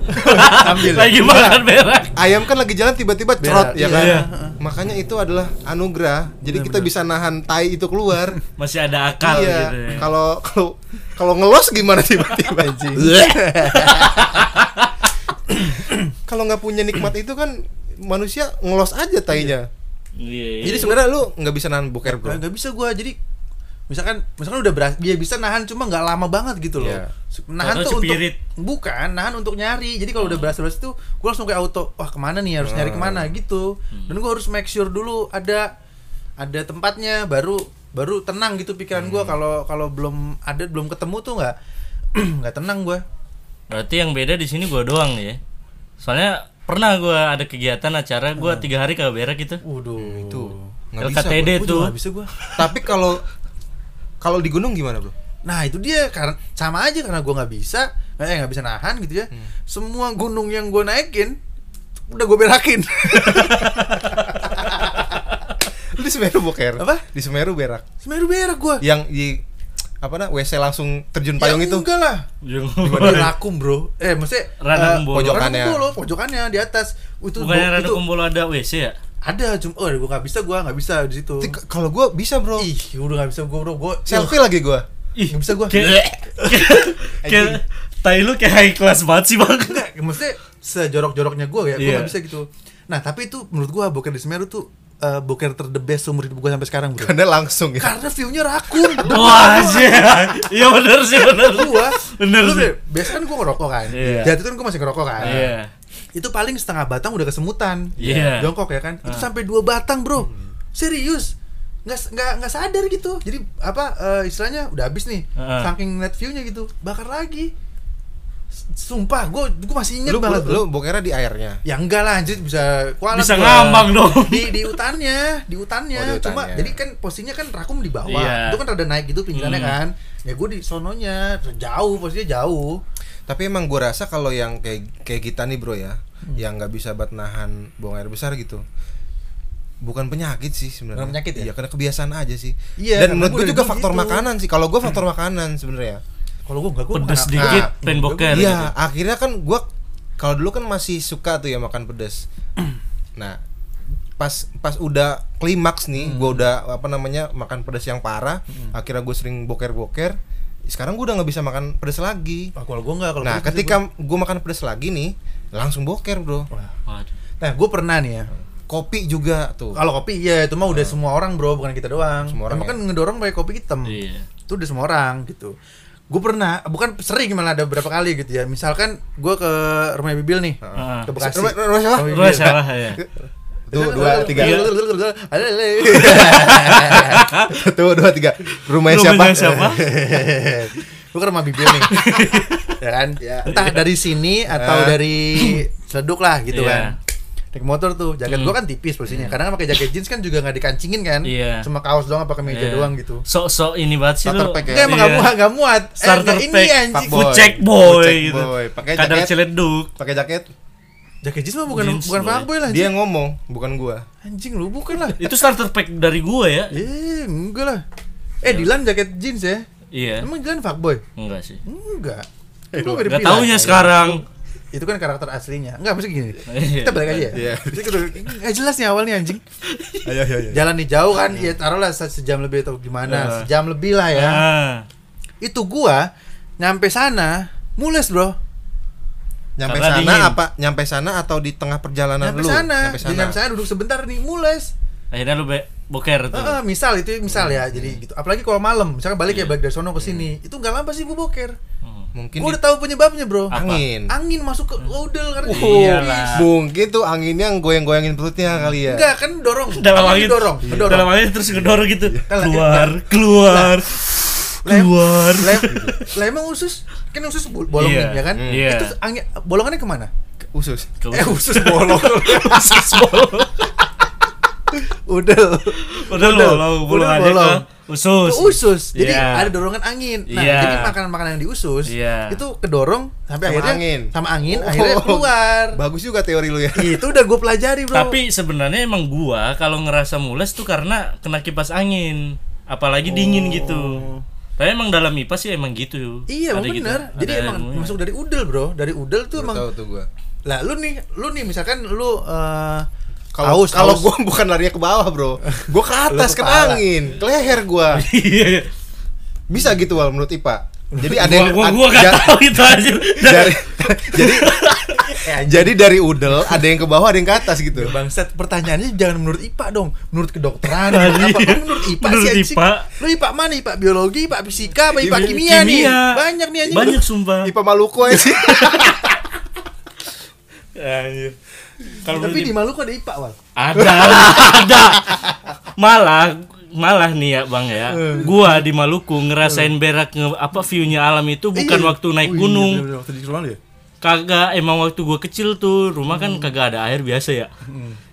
B: Ambil.
D: lagi makan
A: Iya.
D: berak
A: ayam kan lagi jalan tiba-tiba cerot ya
B: iya.
A: kan
D: Iya.
A: makanya itu adalah anugerah jadi kita bisa nahan tai itu
D: <laughs>
A: keluar
D: masih ada akal
A: iya
D: gitu ya.
A: kalau kalau kalau ngelos gimana tiba-tiba
D: <laughs>
A: kalau nggak punya nikmat itu kan manusia ngelos aja tainya
D: Iya, iya.
A: jadi sebenarnya lu nggak bisa nahan boker bro
B: Nah, nggak bisa gua jadi misalkan misalkan udah beras, dia bisa nahan cuma nggak lama banget gitu loh.
A: Iya.
B: Nahan
D: Karena
B: tuh
D: cepirit.
B: untuk bukan nahan untuk nyari. Jadi kalau udah beras beras itu gua langsung kayak auto, wah kemana nih harus nyari kemana gitu. Dan gua harus make sure dulu ada ada tempatnya baru baru tenang gitu pikiran gua kalau kalau belum ada belum ketemu tuh nggak <clears throat> nggak tenang gua.
D: berarti yang beda di sini gua doang ya soalnya pernah gua ada kegiatan acara gua tiga hari kagak berak gitu
B: Waduh.
A: itu nggak bisa
D: LKTD
A: bro.
B: Gua
D: tuh
B: juga nggak Nah. bisa gua.
A: tapi kalau kalau di gunung gimana bro
B: Nah itu dia karena sama aja karena gua nggak bisa, eh nggak bisa nahan gitu ya.
A: Hmm.
B: Semua gunung yang gua naikin udah gue berakin. <laughs>
A: lu <laughs> di Semeru boker
B: Apa?
A: di Semeru berak
B: Semeru berak gua.
A: yang di apa nah WC langsung terjun Iya, payung
B: Ya,
A: itu
B: Enggak lah. Di rakum bro. Eh maksudnya eh,
D: Ranah Kumbolo.
A: Pojokannya.
B: Ranah Kumbolo, pojokannya di atas. Itu
D: bukannya
B: gua-
D: Radu
B: itu
D: Kumbolo ada WC ya
B: ada cuma oh gue nggak bisa gua nggak bisa di situ.
A: Tapi k- kalau gua bisa bro
B: Ih udah nggak bisa gua bro gua
A: selfie lagi gua <laughs>
D: Ih,
B: Nggak bisa gua.
D: Kayak kayak- tai lu kayak high class banget sih, Bang.
B: Enggak, maksudnya sejorok-joroknya gue ya, gue
D: Iya.
B: gak bisa gitu. Nah, tapi itu menurut gue boker di Semeru tuh eh, boker ter the best seumur hidup gue sampai sekarang, bro.
A: karena langsung ya
B: Karena view-nya rakun.
D: Wah, anjir. Iya bener sih, bener.
B: gua
D: Bener
B: lu deh,
D: sih.
B: biasa kan gue ngerokok kan
D: Iya.
B: jadi itu kan gue masih ngerokok kan
D: Iya.
B: itu paling setengah batang udah kesemutan
D: Iya. Hmm.
B: jongkok ya kan itu sampai dua batang bro serius nggak nggak nggak sadar gitu jadi apa eh, istilahnya udah habis nih
D: Heeh.
B: saking net view-nya gitu bakar lagi S- sumpah gue gue masih inget
A: lu, lu,
B: banget
A: lu
B: bro.
A: bokernya di airnya
B: ya enggak lah anjir bisa kualat
D: Bisa
B: gua.
D: ngambang dong.
B: di di hutannya di hutannya
A: Oh, di
B: cuma
A: hutannya.
B: jadi kan posisinya kan rakum di bawah
D: Iya.
B: itu kan rada naik gitu pinggirannya
D: Hmm.
B: kan ya gue di sononya jauh posisinya jauh
A: Tapi emang gua rasa kalau yang kayak kayak kita nih bro ya, yang nggak bisa buat nahan buang air besar gitu, bukan penyakit sih sebenarnya.
B: Bukan penyakit ya?
A: Iya karena kebiasaan aja sih.
B: Iya,
A: Dan
B: karena
A: menurut
B: gua
A: gua
B: udah
A: juga
B: dulu
A: faktor
B: gitu.
A: makanan sih. Kalau gua faktor makanan sebenarnya. ya.
B: kalau gue enggak gue
D: Pedes
B: makan-
D: dikit,
A: Nah,
D: pengen boker. gitu.
A: Iya, akhirnya kan gua kalau dulu kan masih suka tuh ya makan pedas. Nah, pas pas udah klimaks nih, gua udah apa namanya makan pedas yang parah, akhirnya gue sering boker-boker. Sekarang gua udah nggak bisa makan pedas lagi.
B: Ah, kalau gue enggak kalau
A: Nah,
B: pedes sih
A: ketika gue makan pedas lagi nih, langsung boker, Bro.
B: gua- Wah.
D: Waduh.
B: nah gue pernah nih ya
A: Kopi juga tuh.
B: kalau kopi iya itu mah udah semua orang bro bukan kita doang
A: Hmm. Semua orang
B: emang
A: ya?
B: kan ngedorong pakai kopi hitam
D: Iya.
B: itu udah semua orang gitu gue pernah bukan sering malah ada beberapa kali gitu ya misalkan gue ke rumah bibil nih
D: Heeh.
B: ke bekasi
A: Rumah- rumah siapa?
B: Rumah Bibil.
D: Lu salah ya.
A: Tuh, Oh, dua, tiga. <laughs> Satu, dua, tiga. Rumahnya siapa?
D: Rumahnya siapa?
A: <laughs>
D: Iya.
B: Lu ke rumah bibir
D: <laughs>
B: nih. ya kan?
A: Ya.
B: Entah dari sini atau dari Seleduk lah gitu
D: Eh. Iya. Hmm.
B: kan. Naik motor tuh, jaket gua kan tipis posisinya. Kadang kan pakai jaket jeans kan juga nggak dikancingin kan.
D: Iya.
B: Cuma kaos doang apa kemeja
D: Iya.
B: doang gitu.
D: Sok-sok ini banget sih
A: Starter
D: lu.
A: pack ya?
B: Enggak emang nggak
D: Iya.
B: muat, nggak muat. Eh, nggak
D: Starter pack.
B: ini anjing.
A: Fuckboy.
D: Kucek boy,
A: Kucek
D: gitu.
A: boy. Pakai
D: Kadar
A: jaket.
D: celeduk.
A: Pakai jaket.
B: Jaket jeans mah bukan
D: Jeans,
B: bukan
D: boy. Iya.
B: fuckboy lah.
A: Dia
B: anjing.
A: yang ngomong, bukan gua.
B: Anjing lu bukan lah.
D: Itu starter pack dari gua ya.
B: Eh, enggak lah. Eh, Dilan jaket jeans ya?
D: Iya.
B: Emang Dilan fuckboy?
D: Enggak sih.
B: Enggak.
A: Eh, gua-
B: Itu nggak
D: Enggak
B: dibilang.
D: taunya sekarang.
B: Itu kan karakter aslinya. Enggak mesti gini.
D: Iya. Iya.
B: Kita balik aja ya.
A: Iya.
B: Jadi kita- Nggak jelas nih awalnya anjing.
A: Ayo,
B: Iya,
A: ayo, ayo.
B: Jalan nih jauh kan, ya taruhlah se- sejam lebih atau
D: Ah.
B: gimana. Sejam lebih lah ya.
D: Ah.
B: Itu gua nyampe sana mules, Bro.
A: Nyampe sana
D: Karena dingin.
A: apa? Nyampe sana atau di tengah perjalanan
B: Nyampe
A: lu?
B: sana.
A: Nyampe
B: Dia Nyampe sana duduk sebentar nih mules.
D: Akhirnya lu be- boker tuh.
B: Heeh, misal itu misal ya.
D: Iya.
B: Jadi gitu. Apalagi kalau malam, misalkan balik ya balik dari sono ke sini. Itu enggak lama sih gua boker.
D: Hmm.
A: Mungkin
B: Gua
A: di
B: udah tahu penyebabnya, Bro.
D: Apa?
A: angin.
B: Angin masuk ke odel karena
D: Iyalah.
A: Mungkin tuh anginnya yang goyang-goyangin perutnya kali ya.
B: Enggak, kan dorong.
D: dalam
B: Apa
D: angin Iya.
B: Didorong, didorong.
D: dalam angin terus ngedorong gitu
B: Kan lah,
D: keluar keluar
B: Lem-
D: keluar
B: Lah, lah emang usus kan usus bol- bolong
D: Iya.
B: nih, ya kan?
D: Hmm. Iya.
B: Itu angin bolongannya kemana?
A: Usus.
B: Eh usus
D: <laughs>
B: bolong.
D: usus bolong
B: Udel.
D: udah
B: Udah,
D: bolong
B: udah
D: bolongannya ke
B: bolong.
D: usus
B: Ke usus. Jadi
D: Iya.
B: ada dorongan angin. Nah,
D: Iya.
B: jadi makanan-makanan yang di usus
D: Iya.
B: itu kedorong
A: Sama
B: sampai akhirnya
A: angin.
B: sama angin
A: Oh.
B: akhirnya keluar.
A: Bagus juga teori lu ya.
B: Itu udah gue pelajari, Bro.
D: tapi sebenarnya emang gua kalau ngerasa mules tuh karena kena kipas angin apalagi dingin gitu tapi emang dalam IPA sih emang
B: Oh.
D: gitu
B: Iya,
D: Ada
B: emang
D: gitu.
B: bener. Jadi
D: Ada
B: emang
D: ilmunya.
B: masuk dari udel, bro. Dari udel tuh emang.
A: Tahu tuh gua.
B: Lah, lu nih, lu nih misalkan lu eh,
A: Kalau
B: aus,
A: kalau
B: aus.
A: gua <laughs> bukan larinya ke bawah, Bro. Gua ke atas
B: Lu
A: ke
B: ke kepala.
A: angin, ke leher gua.
D: Iya, iya.
A: Bisa gitu wal menurut Ipa. Jadi ada
D: gua gua, kan? gua gak
A: ada-
D: <laughs> tahu itu aja <laughs>
A: dari jadi
B: Eh, anjing.
A: jadi dari udel ada yang ke bawah ada yang ke atas gitu.
B: Bangsat, pertanyaannya jangan menurut IPA dong, menurut kedokteran.
D: Tadi.
B: Apa Kamu menurut IPA
D: Iya. Menurut
B: sih anjing?
D: IPA.
B: Lu IPA mana? IPA biologi, IPA fisika, apa IPA kimia, nih? Banyak nih anjing.
D: Iya, banyak sumpah
A: Ipa Maluku aja
D: <laughs>
A: sih.
D: Anjir. Ya, iya. Kalau
B: Tapi
D: menurut
B: di Maluku ada IPA, Wal.
D: Ada, <laughs> ada. Malah, malah nih ya bang ya.
B: Eh.
D: Gua di Maluku ngerasain berak nge, apa viewnya alam itu bukan
B: Iya.
D: waktu naik
B: Wih,
D: gunung.
B: bener-bener, Waktu di Maluku ya?
D: Kagak emang waktu gua kecil tuh rumah
B: Hmm.
D: kan kagak ada air biasa ya.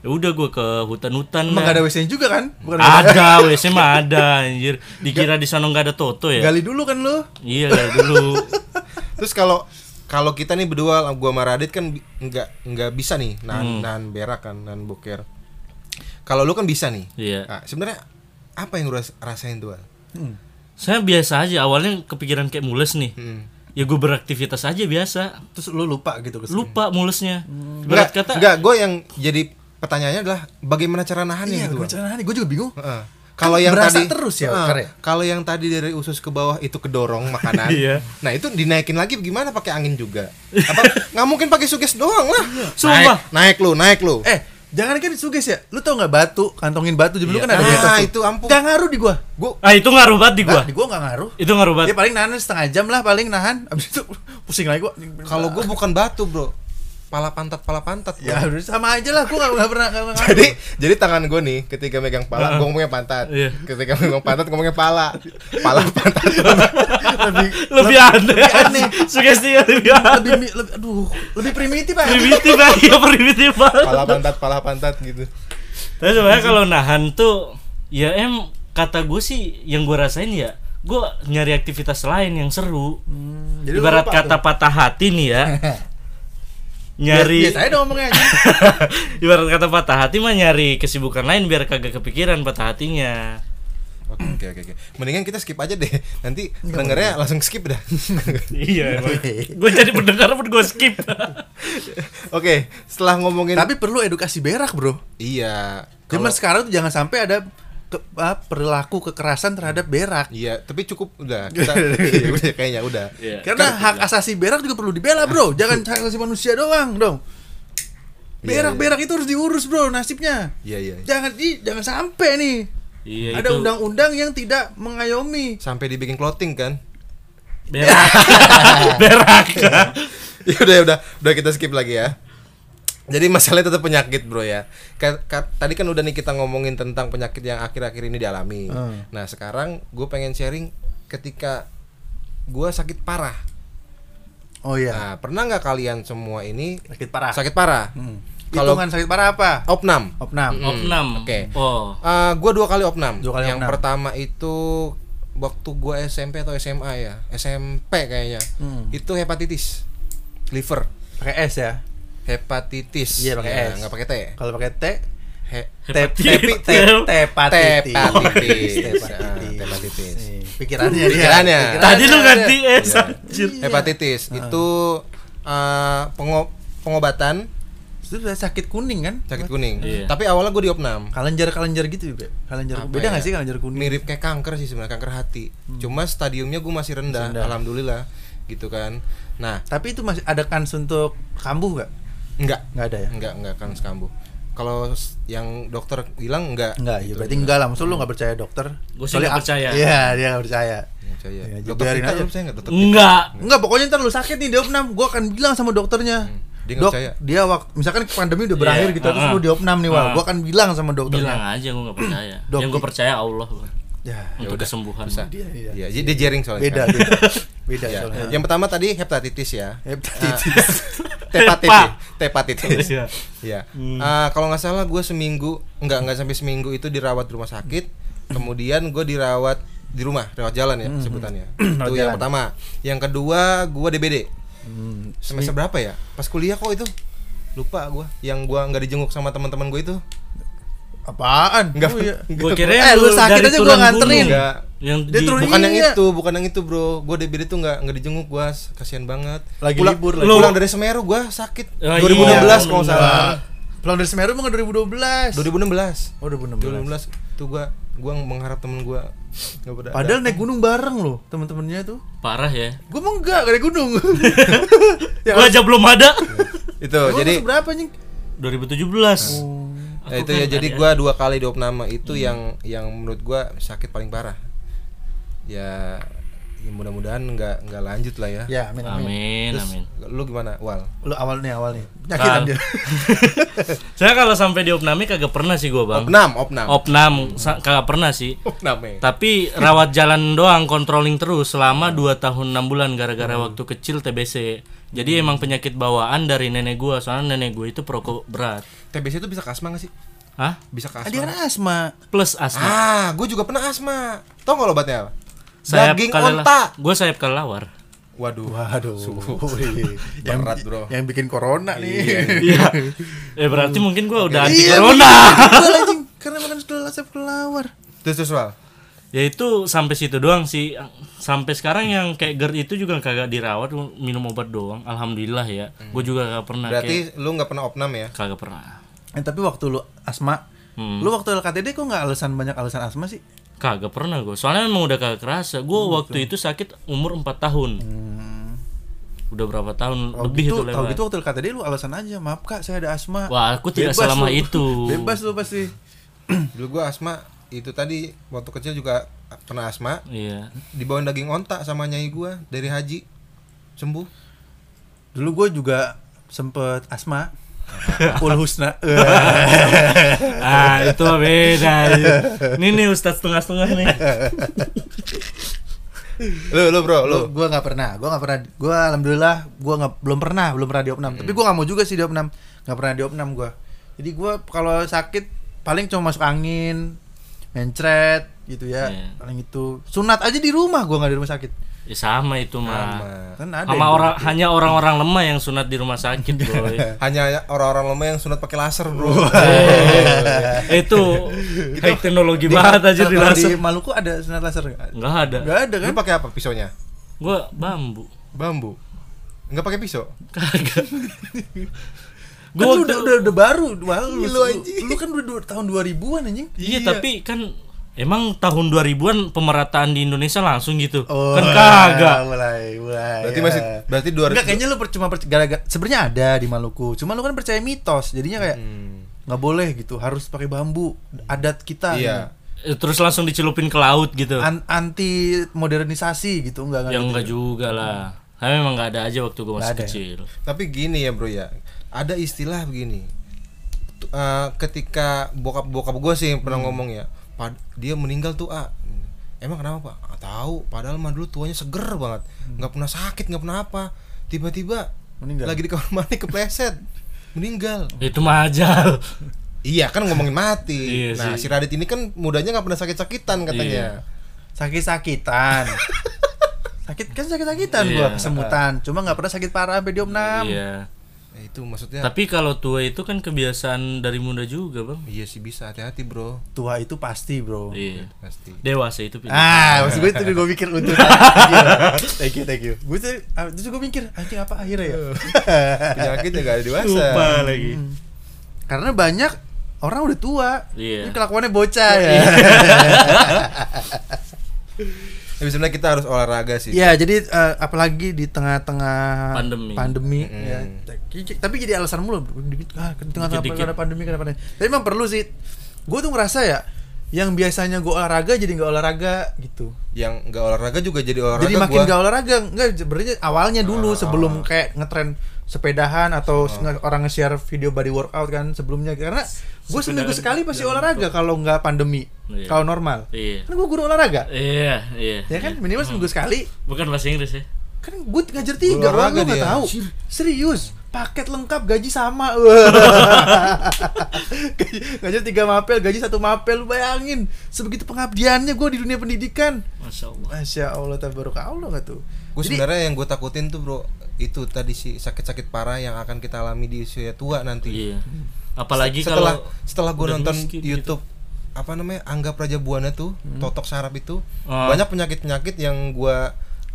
D: Ya udah gua ke hutan-hutan.
B: Emang
D: dah.
B: gak ada WC-nya juga kan? Bukan
D: Ada, WC mah ada anjir. Dikira di sana nggak ada toto ya?
B: Gali dulu kan lu.
D: Iya, gali dulu.
A: Terus kalau kalau kita nih berdua gua sama Radit kan bi- nggak nggak bisa nih nahan
B: Hmm.
A: nahan berak kan nahan boker. Kalau lu kan bisa nih.
D: Iya.
A: Nah, sebenarnya apa yang lu ras- rasain tuh? Wal?
B: Hmm.
D: Saya biasa aja awalnya kepikiran kayak mules nih. Ya gua beraktivitas aja biasa.
B: Terus lu lupa gitu kesini.
D: Lupa mulesnya.
A: Hmm. Enggak,
D: Berat kata
A: enggak gue yang jadi pertanyaannya adalah bagaimana cara nahannya
B: Iya,
A: gitu.
B: gue
A: Bang.
B: gue juga bingung.
A: Heeh. Kalau
B: Kan
A: yang
B: berasa
A: tadi
B: terus ya,
A: Heeh.
B: Kar, ya?
A: Kalau yang tadi dari usus ke bawah itu kedorong
B: <laughs>
A: makanan.
D: Iya.
A: Nah, itu dinaikin lagi gimana pakai angin juga? Apa nggak mungkin pakai suges doang lah.
D: Sumpah.
A: Naik, naik lu, naik lu.
B: Eh, jangan kan suges ya. Lu tau nggak batu, kantongin batu dulu
D: Iya.
B: kan
A: Nah,
B: ada di atas tuh.
A: itu ampun.
B: Nggak ngaruh di gua.
A: Gua
D: Ah itu ngaruh banget di gua.
B: Nah, di gua nggak ngaruh.
D: Itu ngaruh banget.
B: Ya paling nahan setengah jam lah paling nahan. Abis itu <laughs> pusing lagi gua.
A: kalau gua bukan batu, Bro. Pala pantat, pala pantat. Bro.
B: ya udah sama aja lah gua nggak- nggak pernah nggak pernah.
A: <laughs> Jadi jadi tangan gue nih ketika megang pala, gue ngomongnya pantat.
D: Ah. Iya.
A: Ketika megang pantat, ngomongnya pala. Pala pantat.
B: lebih
D: lebih aneh.
B: lebih aneh.
D: Sugestinya lebih aneh.
B: lebih, mi- lebih- aduh, lebih primitif aja.
D: Primitif aja, iya, primitif banget.
A: pala pantat, pala pantat gitu.
D: Tapi sebenarnya kalau nahan tuh ya em kata gue sih yang gue rasain ya gue nyari aktivitas lain yang seru.
B: jadi lu
D: Ibarat
B: lupa
D: kata patah hati nih ya.
B: Biasa-
D: nyari
B: Biasa aja Iya, dong ngomongnya aja.
D: ibarat kata patah hati mah nyari kesibukan lain biar kagak kepikiran patah hatinya.
A: Oke, oke, oke, oke. Mendingan kita skip aja deh. Nanti pendengarnya langsung skip dah. <laughs>
D: <laughs> iya, gue jadi pendengar pun gue skip.
A: Oke, setelah ngomongin
B: Eh, Tapi perlu edukasi berak, Bro.
A: iya.
B: Cuman
A: Kalau-
B: sekarang tuh jangan sampai ada ke- apa, perilaku kekerasan terhadap berak.
A: Iya, tapi cukup udah. Kita <laughs> Iya, udah kayaknya udah.
D: Iya.
B: Karena hak asasi berak juga perlu dibela, Bro. Jangan hak asasi manusia doang, dong. Iya, Berak-berak itu harus diurus, Bro, nasibnya.
A: Iya, iya.
B: Jangan di, jangan sampai nih.
D: Iya,
B: Ada
D: itu
B: undang-undang yang tidak mengayomi.
A: Sampai dibikin clothing kan?
D: <laughs> berak. berak.
A: <laughs> ya udah, ya udah, udah kita skip lagi ya. Jadi masalahnya tetap penyakit bro ya. Ka- ka- tadi kan udah nih kita ngomongin tentang penyakit yang akhir-akhir ini dialami.
B: Hmm.
A: Nah sekarang gue pengen sharing ketika gue sakit parah.
B: Oh iya.
A: Nah pernah nggak kalian semua ini
B: Sakit parah.
A: sakit parah?
B: Hmm.
A: Kalau-
B: Hitungan sakit parah apa?
A: Opnam.
B: Opnam.
D: Opnam.
A: Oke.
D: Oh.
A: Eh, gue dua kali opnam.
B: Dua kali
A: yang
B: opnam.
A: pertama itu waktu gue SMP atau SMA ya, SMP kayaknya.
B: Hmm.
A: Itu hepatitis, liver,
B: Pakai S ya.
A: hepatitis.
B: Iya, pakai
A: Ya,
B: S.
A: Nggak pakai T. ya?
B: Kalau pakai T
A: He-
B: Tep-
D: Hepatitis.
B: tepi- tep- Tepatitis.
A: <laughs> Tepatitis.
B: Tepatitis.
A: Ah, tepatitis.
B: Nih, Pikirannya dia.
A: Pikirannya.
D: Tadi lu ganti
A: Iya.
D: S anjir.
A: hepatitis
B: Ah.
A: itu eh, pengo- pengobatan
B: Itu sudah sakit kuning kan?
A: sakit kuning.
D: Iya.
A: Tapi awalnya gue diopnam.
B: Kalenjar-kalenjar gitu, Beb. Kalenjar.
A: Apa
B: Beda
A: ya?
B: nggak sih kalenjar kuning? Hmm.
A: mirip kayak kanker sih sebenarnya kanker hati cuma stadiumnya gue masih rendah,
B: Rendah.
A: alhamdulillah gitu kan nah
B: Tapi itu masih ada kans untuk kambuh nggak?
A: enggak
B: Nggak ada ya?
A: enggak enggak kan kambuh kalau s- yang dokter bilang enggak
B: Enggak, ya
A: gitu.
B: berarti enggak lah. Maksud lu enggak percaya dokter?
D: Gua sih
B: Soalnya
D: nggak
B: ak-
D: percaya.
B: Iya, dia enggak percaya.
A: Nggak percaya
B: Ya,
A: Iya, dokter
B: biarin
A: Vita
B: aja.
A: lu percaya enggak dokter Vita?
D: Enggak.
B: Enggak, pokoknya ntar lu sakit nih diopnam, gua akan bilang sama dokternya.
A: Hmm. dia nggak
B: Dok,
A: percaya.
B: dia waktu misalkan pandemi udah berakhir
D: Iya,
B: gitu terus
D: uh-uh.
B: lu diopnam nih, wah,
D: Uh-uh.
B: gua akan bilang sama
D: Bilang
B: dokternya.
D: aja gue gak percaya.
B: Dok,
D: Yang gue
B: i-
D: percaya Allah gua.
B: Ya.
D: untuk kesembuhan.
A: Susah.
B: Dia- dia-
A: Iya, dia jaring soalnya <laughs>
B: Beda,
A: kan.
B: beda. Beda
A: Iya.
B: soalnya.
A: yang pertama tadi hepatitis ya
B: Hepatitis. <laughs>
A: hepatitis hepatitis
D: Iya.
A: ya. Iya.
B: Hmm.
A: Ah, kalau nggak salah gue seminggu nggak nggak sampai seminggu itu dirawat di rumah sakit.
B: Hmm.
A: Kemudian gue dirawat di rumah, rawat jalan ya sebutannya. itu yang
B: Rawat Hmm. jalan.
A: pertama. Yang kedua gue DBD.
B: Hmm,
A: Semester berapa ya? Pas kuliah kok itu. Lupa gue. Yang gue nggak dijenguk sama teman-teman gue itu.
B: apaan?
A: Nggak.
B: Oh, iya.
D: Gue kira
B: Eh, lu sakit aja gua nganterin.
A: Nggak.
D: Yang
B: Dia
D: di
B: turun-
A: Bukan yang
B: Iya.
A: itu, bukan yang itu bro. Gue DBD tuh nggak nggak dijenguk gue, kasihan banget.
B: Lagi
A: pulang,
B: libur
D: lagi.
A: Pulang dari Semeru gue sakit.
D: Oh,
A: 2016
D: iya.
A: kalau nggak salah.
B: Pulang dari Semeru emang 2012.
A: 2016.
B: Oh, 2016.
A: 2016 tuh gua gua mengharap temen gua nggak pada
B: Padahal naik gunung bareng loh teman-temannya tuh.
D: Parah ya.
B: Gue emang enggak naik
A: <laughs>
B: gunung. ya,
D: Gue aja belum ada. <laughs>
A: itu
B: emang
A: jadi
B: masuk berapa nying?
D: 2017.
B: Oh.
A: ya,
B: Eh,
A: itu
D: kan-
A: ya jadi gua dua kali diopname itu
D: Hmm.
A: yang yang menurut gua sakit paling parah ya, ya mudah-mudahan nggak nggak lanjut lah ya,
B: Ya, amin amin.
D: Amin,
A: Terus,
D: amin.
A: lu gimana wal
B: Lu awal nih, awal nih. Nyakitan
D: Kal-
B: dia.
D: Saya kalau sampai diopname kagak pernah sih gua, Bang.
A: opnam opnam
D: Opnam sa- kagak pernah sih.
A: opnam ya.
D: Tapi rawat jalan doang controlling terus selama 2 tahun 6 bulan gara-gara
A: Hmm.
D: waktu kecil TBC. Jadi emang penyakit bawaan dari nenek gua, soalnya nenek gua itu perokok berat.
A: TBC itu bisa ke asma nggak sih
D: Hah?
A: bisa ke
B: Ah, Dia kan
A: asma
B: asma.
D: Plus asma.
A: ah gua juga pernah asma tau nggak lo obatnya apa? daging
D: kalala-
A: onta
D: Gua sayap kelelawar.
A: waduh
B: Waduh. yang
A: berat bro
B: yang bikin corona <laughs> nih.
D: Iya. <laughs> eh berarti mungkin gua udah anti
B: Iya,
D: corona.
B: Jual anjing karena makan sudah asap kelawar.
A: terus terus wal
D: Ya itu sampai situ doang sih. Sampai sekarang yang kayak GERD itu juga kagak dirawat, minum obat doang. Alhamdulillah ya. Gua juga kagak pernah kayak-
A: Hmm. berarti lu nggak pernah opnam ya <clears throat>
D: kagak pernah.
B: Eh, tapi waktu lu asma, lu waktu LKTD kok nggak alasan banyak alasan asma sih?
D: Kagak pernah gue. Soalnya emang udah kagak kerasa. Gue
B: Hmm,
D: waktu itu sakit umur 4 tahun. Udah berapa tahun
B: Tahu
D: lebih
B: Hmm. gitu, tahu
D: itu lewat.
B: gitu waktu LKTD lu alasan aja, maaf kak saya ada asma.
D: Wah, aku tidak
B: Bebas
D: selama
B: lu.
D: itu.
B: <laughs> Bebas lu pasti.
A: dulu gua asma itu tadi waktu kecil juga pernah asma
D: Iya. <laughs>
A: dibawain daging onta sama nyai gua dari haji sembuh
B: Dulu gue juga sempet
D: <laughs>
B: asma. Ul Husna.
D: Ah, itu beda. Ini nih Ustadz setengah-setengah nih.
A: lu lu bro lu
B: Gue nggak pernah, gue nggak pernah, gue alhamdulillah gue nggak belum pernah, belum pernah diopnam.
D: Hmm.
B: Tapi gue nggak mau juga sih diopnam, nggak pernah diopnam gue. Jadi gue kalau sakit paling cuma masuk angin, mencret gitu ya,
D: Iya.
B: paling itu. Sunat aja di rumah, gue nggak di rumah sakit.
D: Ya sama itu mah.
A: Sama.
B: Kan ada.
D: Sama
B: yang- Eh,
D: orang hanya orang-orang lemah yang sunat di rumah
B: <laughs>
D: sakit, boy.
A: hanya orang-orang lama yang sunat pakai laser bro Iya kan?
D: Eh, itu high teknologi banget aja di
B: Kalau
D: laser.
B: Di Maluku ada sunat laser nggak?
D: Enggak ada.
B: Nggak ada kan?
A: lu pakai apa pisaunya
D: Gua bambu.
A: bambu nggak pakai pisau
B: Kan
D: Kagak. Gua
B: lu
D: waktu-
B: udah, udah, udah baru, wah,
A: Iya,
B: lu,
A: lu
B: lu,
A: anjing.
B: lu kan udah dua- tahun 2000-an anjing.
D: Iya, tapi kan emang tahun 2000-an pemerataan di Indonesia langsung gitu.
B: Oh,
D: kan kagak.
B: Mulai, mulai.
A: berarti
B: ya.
A: masih berarti dua
B: Enggak kayaknya lu percuma gara-gara sebenarnya ada di Maluku. Cuma lu kan percaya mitos, jadinya kayak nggak boleh gitu, harus pakai bambu adat kita.
A: iya
D: Eh, Terus langsung dicelupin ke laut
B: gitu.
D: gitu. Ya
B: An- anti modernisasi gitu, enggak enggak.
D: yang
B: gitu.
D: enggak juga lah. Tapi memang enggak ada aja waktu gua masih
B: Nggak ada ya?
D: kecil.
A: tapi gini ya bro ya ada istilah begini T- eh, ketika bokap bokap gue sih yang pernah ngomong ya "Pad- dia meninggal tuh a emang kenapa pak "Ah, tahu padahal mah dulu tuanya seger banget nggak pernah sakit nggak pernah apa tiba-tiba
B: Meninggal.
A: lagi di kamar <laughs> mandi kepleset meninggal
D: itu mah ajal
A: iya kan ngomongin mati
D: Iya
A: nah si
D: sih.
A: Radit ini kan mudanya nggak pernah sakit-sakitan katanya
D: <laughs>
B: sakit-sakitan sakit kan sakit-sakitan
D: Iya.
B: gua kesemutan cuma nggak pernah sakit parah sampai diom enam
D: iya
A: Ya, itu maksudnya
D: tapi kalau tua itu kan kebiasaan dari muda juga bang
A: iya sih bisa hati-hati bro
B: tua itu pasti bro
D: iya
A: pasti
D: dewasa itu pilihan.
B: Oh. <laughs> Ah, maksud gue itu gue mikir untuk thank you, thank you. Gue tuh, ah, terus gue mikir, anjing apa akhirnya ya?
A: penyakitnya nggak ada dewasa
D: lupa lagi
B: Karena banyak orang udah tua, ini
D: Iya.
B: kelakuannya bocah ya.
A: tapi sebenarnya Nah, kita harus olahraga sih
B: <laughs> Iya, jadi eh, apalagi di tengah-tengah
D: Pandemi.
A: Mm.
B: ya. Ki- Tapi jadi alasan mulu dikit ah, di tengah
D: Dikit-dikit.
B: karena pandemi karena pandemi. Tapi emang perlu sih. Gue tuh ngerasa ya yang biasanya gue olahraga jadi nggak olahraga gitu.
A: yang nggak olahraga juga jadi olahraga
B: jadi makin
A: gua. Ah.
B: nggak olahraga nggak sebenarnya awalnya dulu sebelum kayak ngetren sepedahan atau nge- orang nge-share video body workout kan sebelumnya karena gue seminggu sekali pasti olahraga kalau nggak pandemi
D: Iya.
B: kalau normal
D: Iya.
B: kan gue guru olahraga
D: iya iya
B: ya kan minimal seminggu sekali
D: bukan bahasa Inggris ya
B: kan gue ngajar
A: Hmm.
B: tiga
A: Guru
B: orang
A: olahraga
B: gue nggak
A: dia.
B: tahu serius paket lengkap gaji
A: <laughs>
B: sama <laughs> Wah. Gaji- ngajar tiga mapel gaji satu mapel lu bayangin sebegitu pengabdiannya gue di dunia pendidikan
D: masya Allah
B: masya allah tabarok allah nggak tuh
A: Gue sebenarnya yang gue takutin tuh bro itu tadi si sakit-sakit parah yang akan kita alami di usia tua nanti.
D: iya apalagi
A: setelah
D: kalau
A: setelah gue
D: udah
A: nonton
D: miskin gitu. Hmm.
A: YouTube apa namanya Angga Prajabuana tuh Totok Sarap itu
D: Ah.
A: banyak penyakit-penyakit yang gue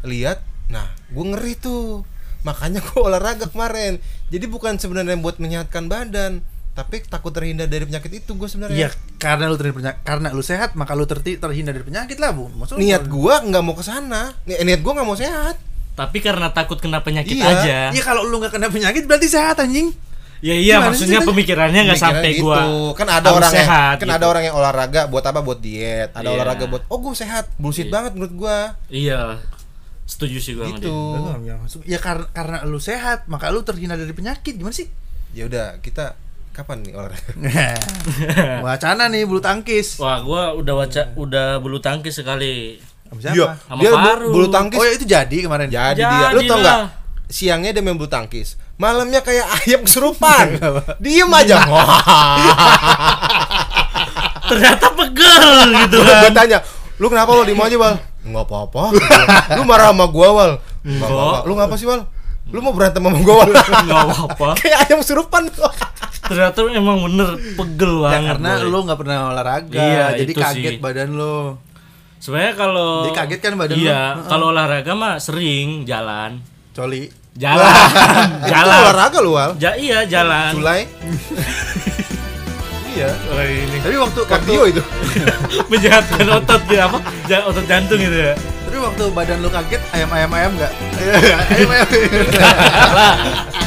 A: lihat. Nah gue ngeri tuh makanya gue olahraga kemarin. Jadi bukan sebenarnya buat menyehatkan badan tapi takut terhindar dari penyakit itu gue
B: Iya,
A: sebenarnya.
B: karena lu terhindar penyakit, karena lu sehat maka lu terti- terhindar dari penyakit lah, Bu. Maksud
A: Niat gue nggak mau ke sana. Ni- Niat gue nggak mau sehat.
D: tapi karena takut kena penyakit
A: Iya.
D: aja
B: Iya, kalau lu nggak kena penyakit berarti sehat anjing.
D: ya iya
B: Gimana sih
D: maksudnya
B: ceritanya?
D: pemikirannya nggak
A: Mikirnya
D: sampai
A: gitu.
D: gua
A: kan ada
D: harus
A: orang yang
D: sehat
A: kan
D: gitu.
A: ada orang yang olahraga buat apa buat diet ada
D: Iya.
A: olahraga buat oh gue sehat bullshit banget menurut gua
D: iya setuju sih gua sama
A: gitu
B: Ya,
D: dia.
B: maksud- ya karena karena lu sehat maka lu terhindar dari penyakit. Gimana
D: <laughs>
B: sih?
A: ya udah kita kapan nih olahraga
B: Wacana nih bulu tangkis.
D: wah gua udah waca udah bulu tangkis sekali
B: Sama siapa?
A: Iya,
D: Sama
A: dia bu-
D: Faru.
A: bulu tangkis
B: Oh ya itu jadi kemarin.
A: iya. jadi
D: Jadi
A: dia lu tau
D: lah.
A: nggak siangnya dia main bulu tangkis malamnya kayak <laughs> ayam kesurupan
D: Iya,
A: diem aja
D: ternyata pegel
A: <laughs>
D: gitu
A: gue tanya lu kenapa wal diem aja wal nggak apa-apa lu marah sama gua wal nggak apa-apa lu ngapa sih wal lu mau berantem sama gua wal
D: <laughs> nggak apa-apa
A: kayak ayam kesurupan
D: ternyata emang bener pegel
B: Ya,
D: banget
B: karena
D: boy.
B: lu nggak pernah olahraga,
D: Iya,
B: jadi
D: itu
B: kaget
D: sih.
B: badan lu.
D: sebenarnya kalau
B: Jadi kaget kan badan
D: iya
B: lu? Heeh.
D: kalau olahraga mah sering jalan
B: Coli.
D: <laughs> jalan
A: Itu
D: jalan
A: olahraga lu wal
D: ja iya jalan
A: Julai iya
D: Wah, ini <laughs>
B: Tapi waktu waktu
A: kardio itu
D: menjahatkan otot gitu apa Ja- otot jantung gitu ya
B: <laughs> tapi waktu badan lu kaget ayam-ayam ayam nggak? Ayam-ayam.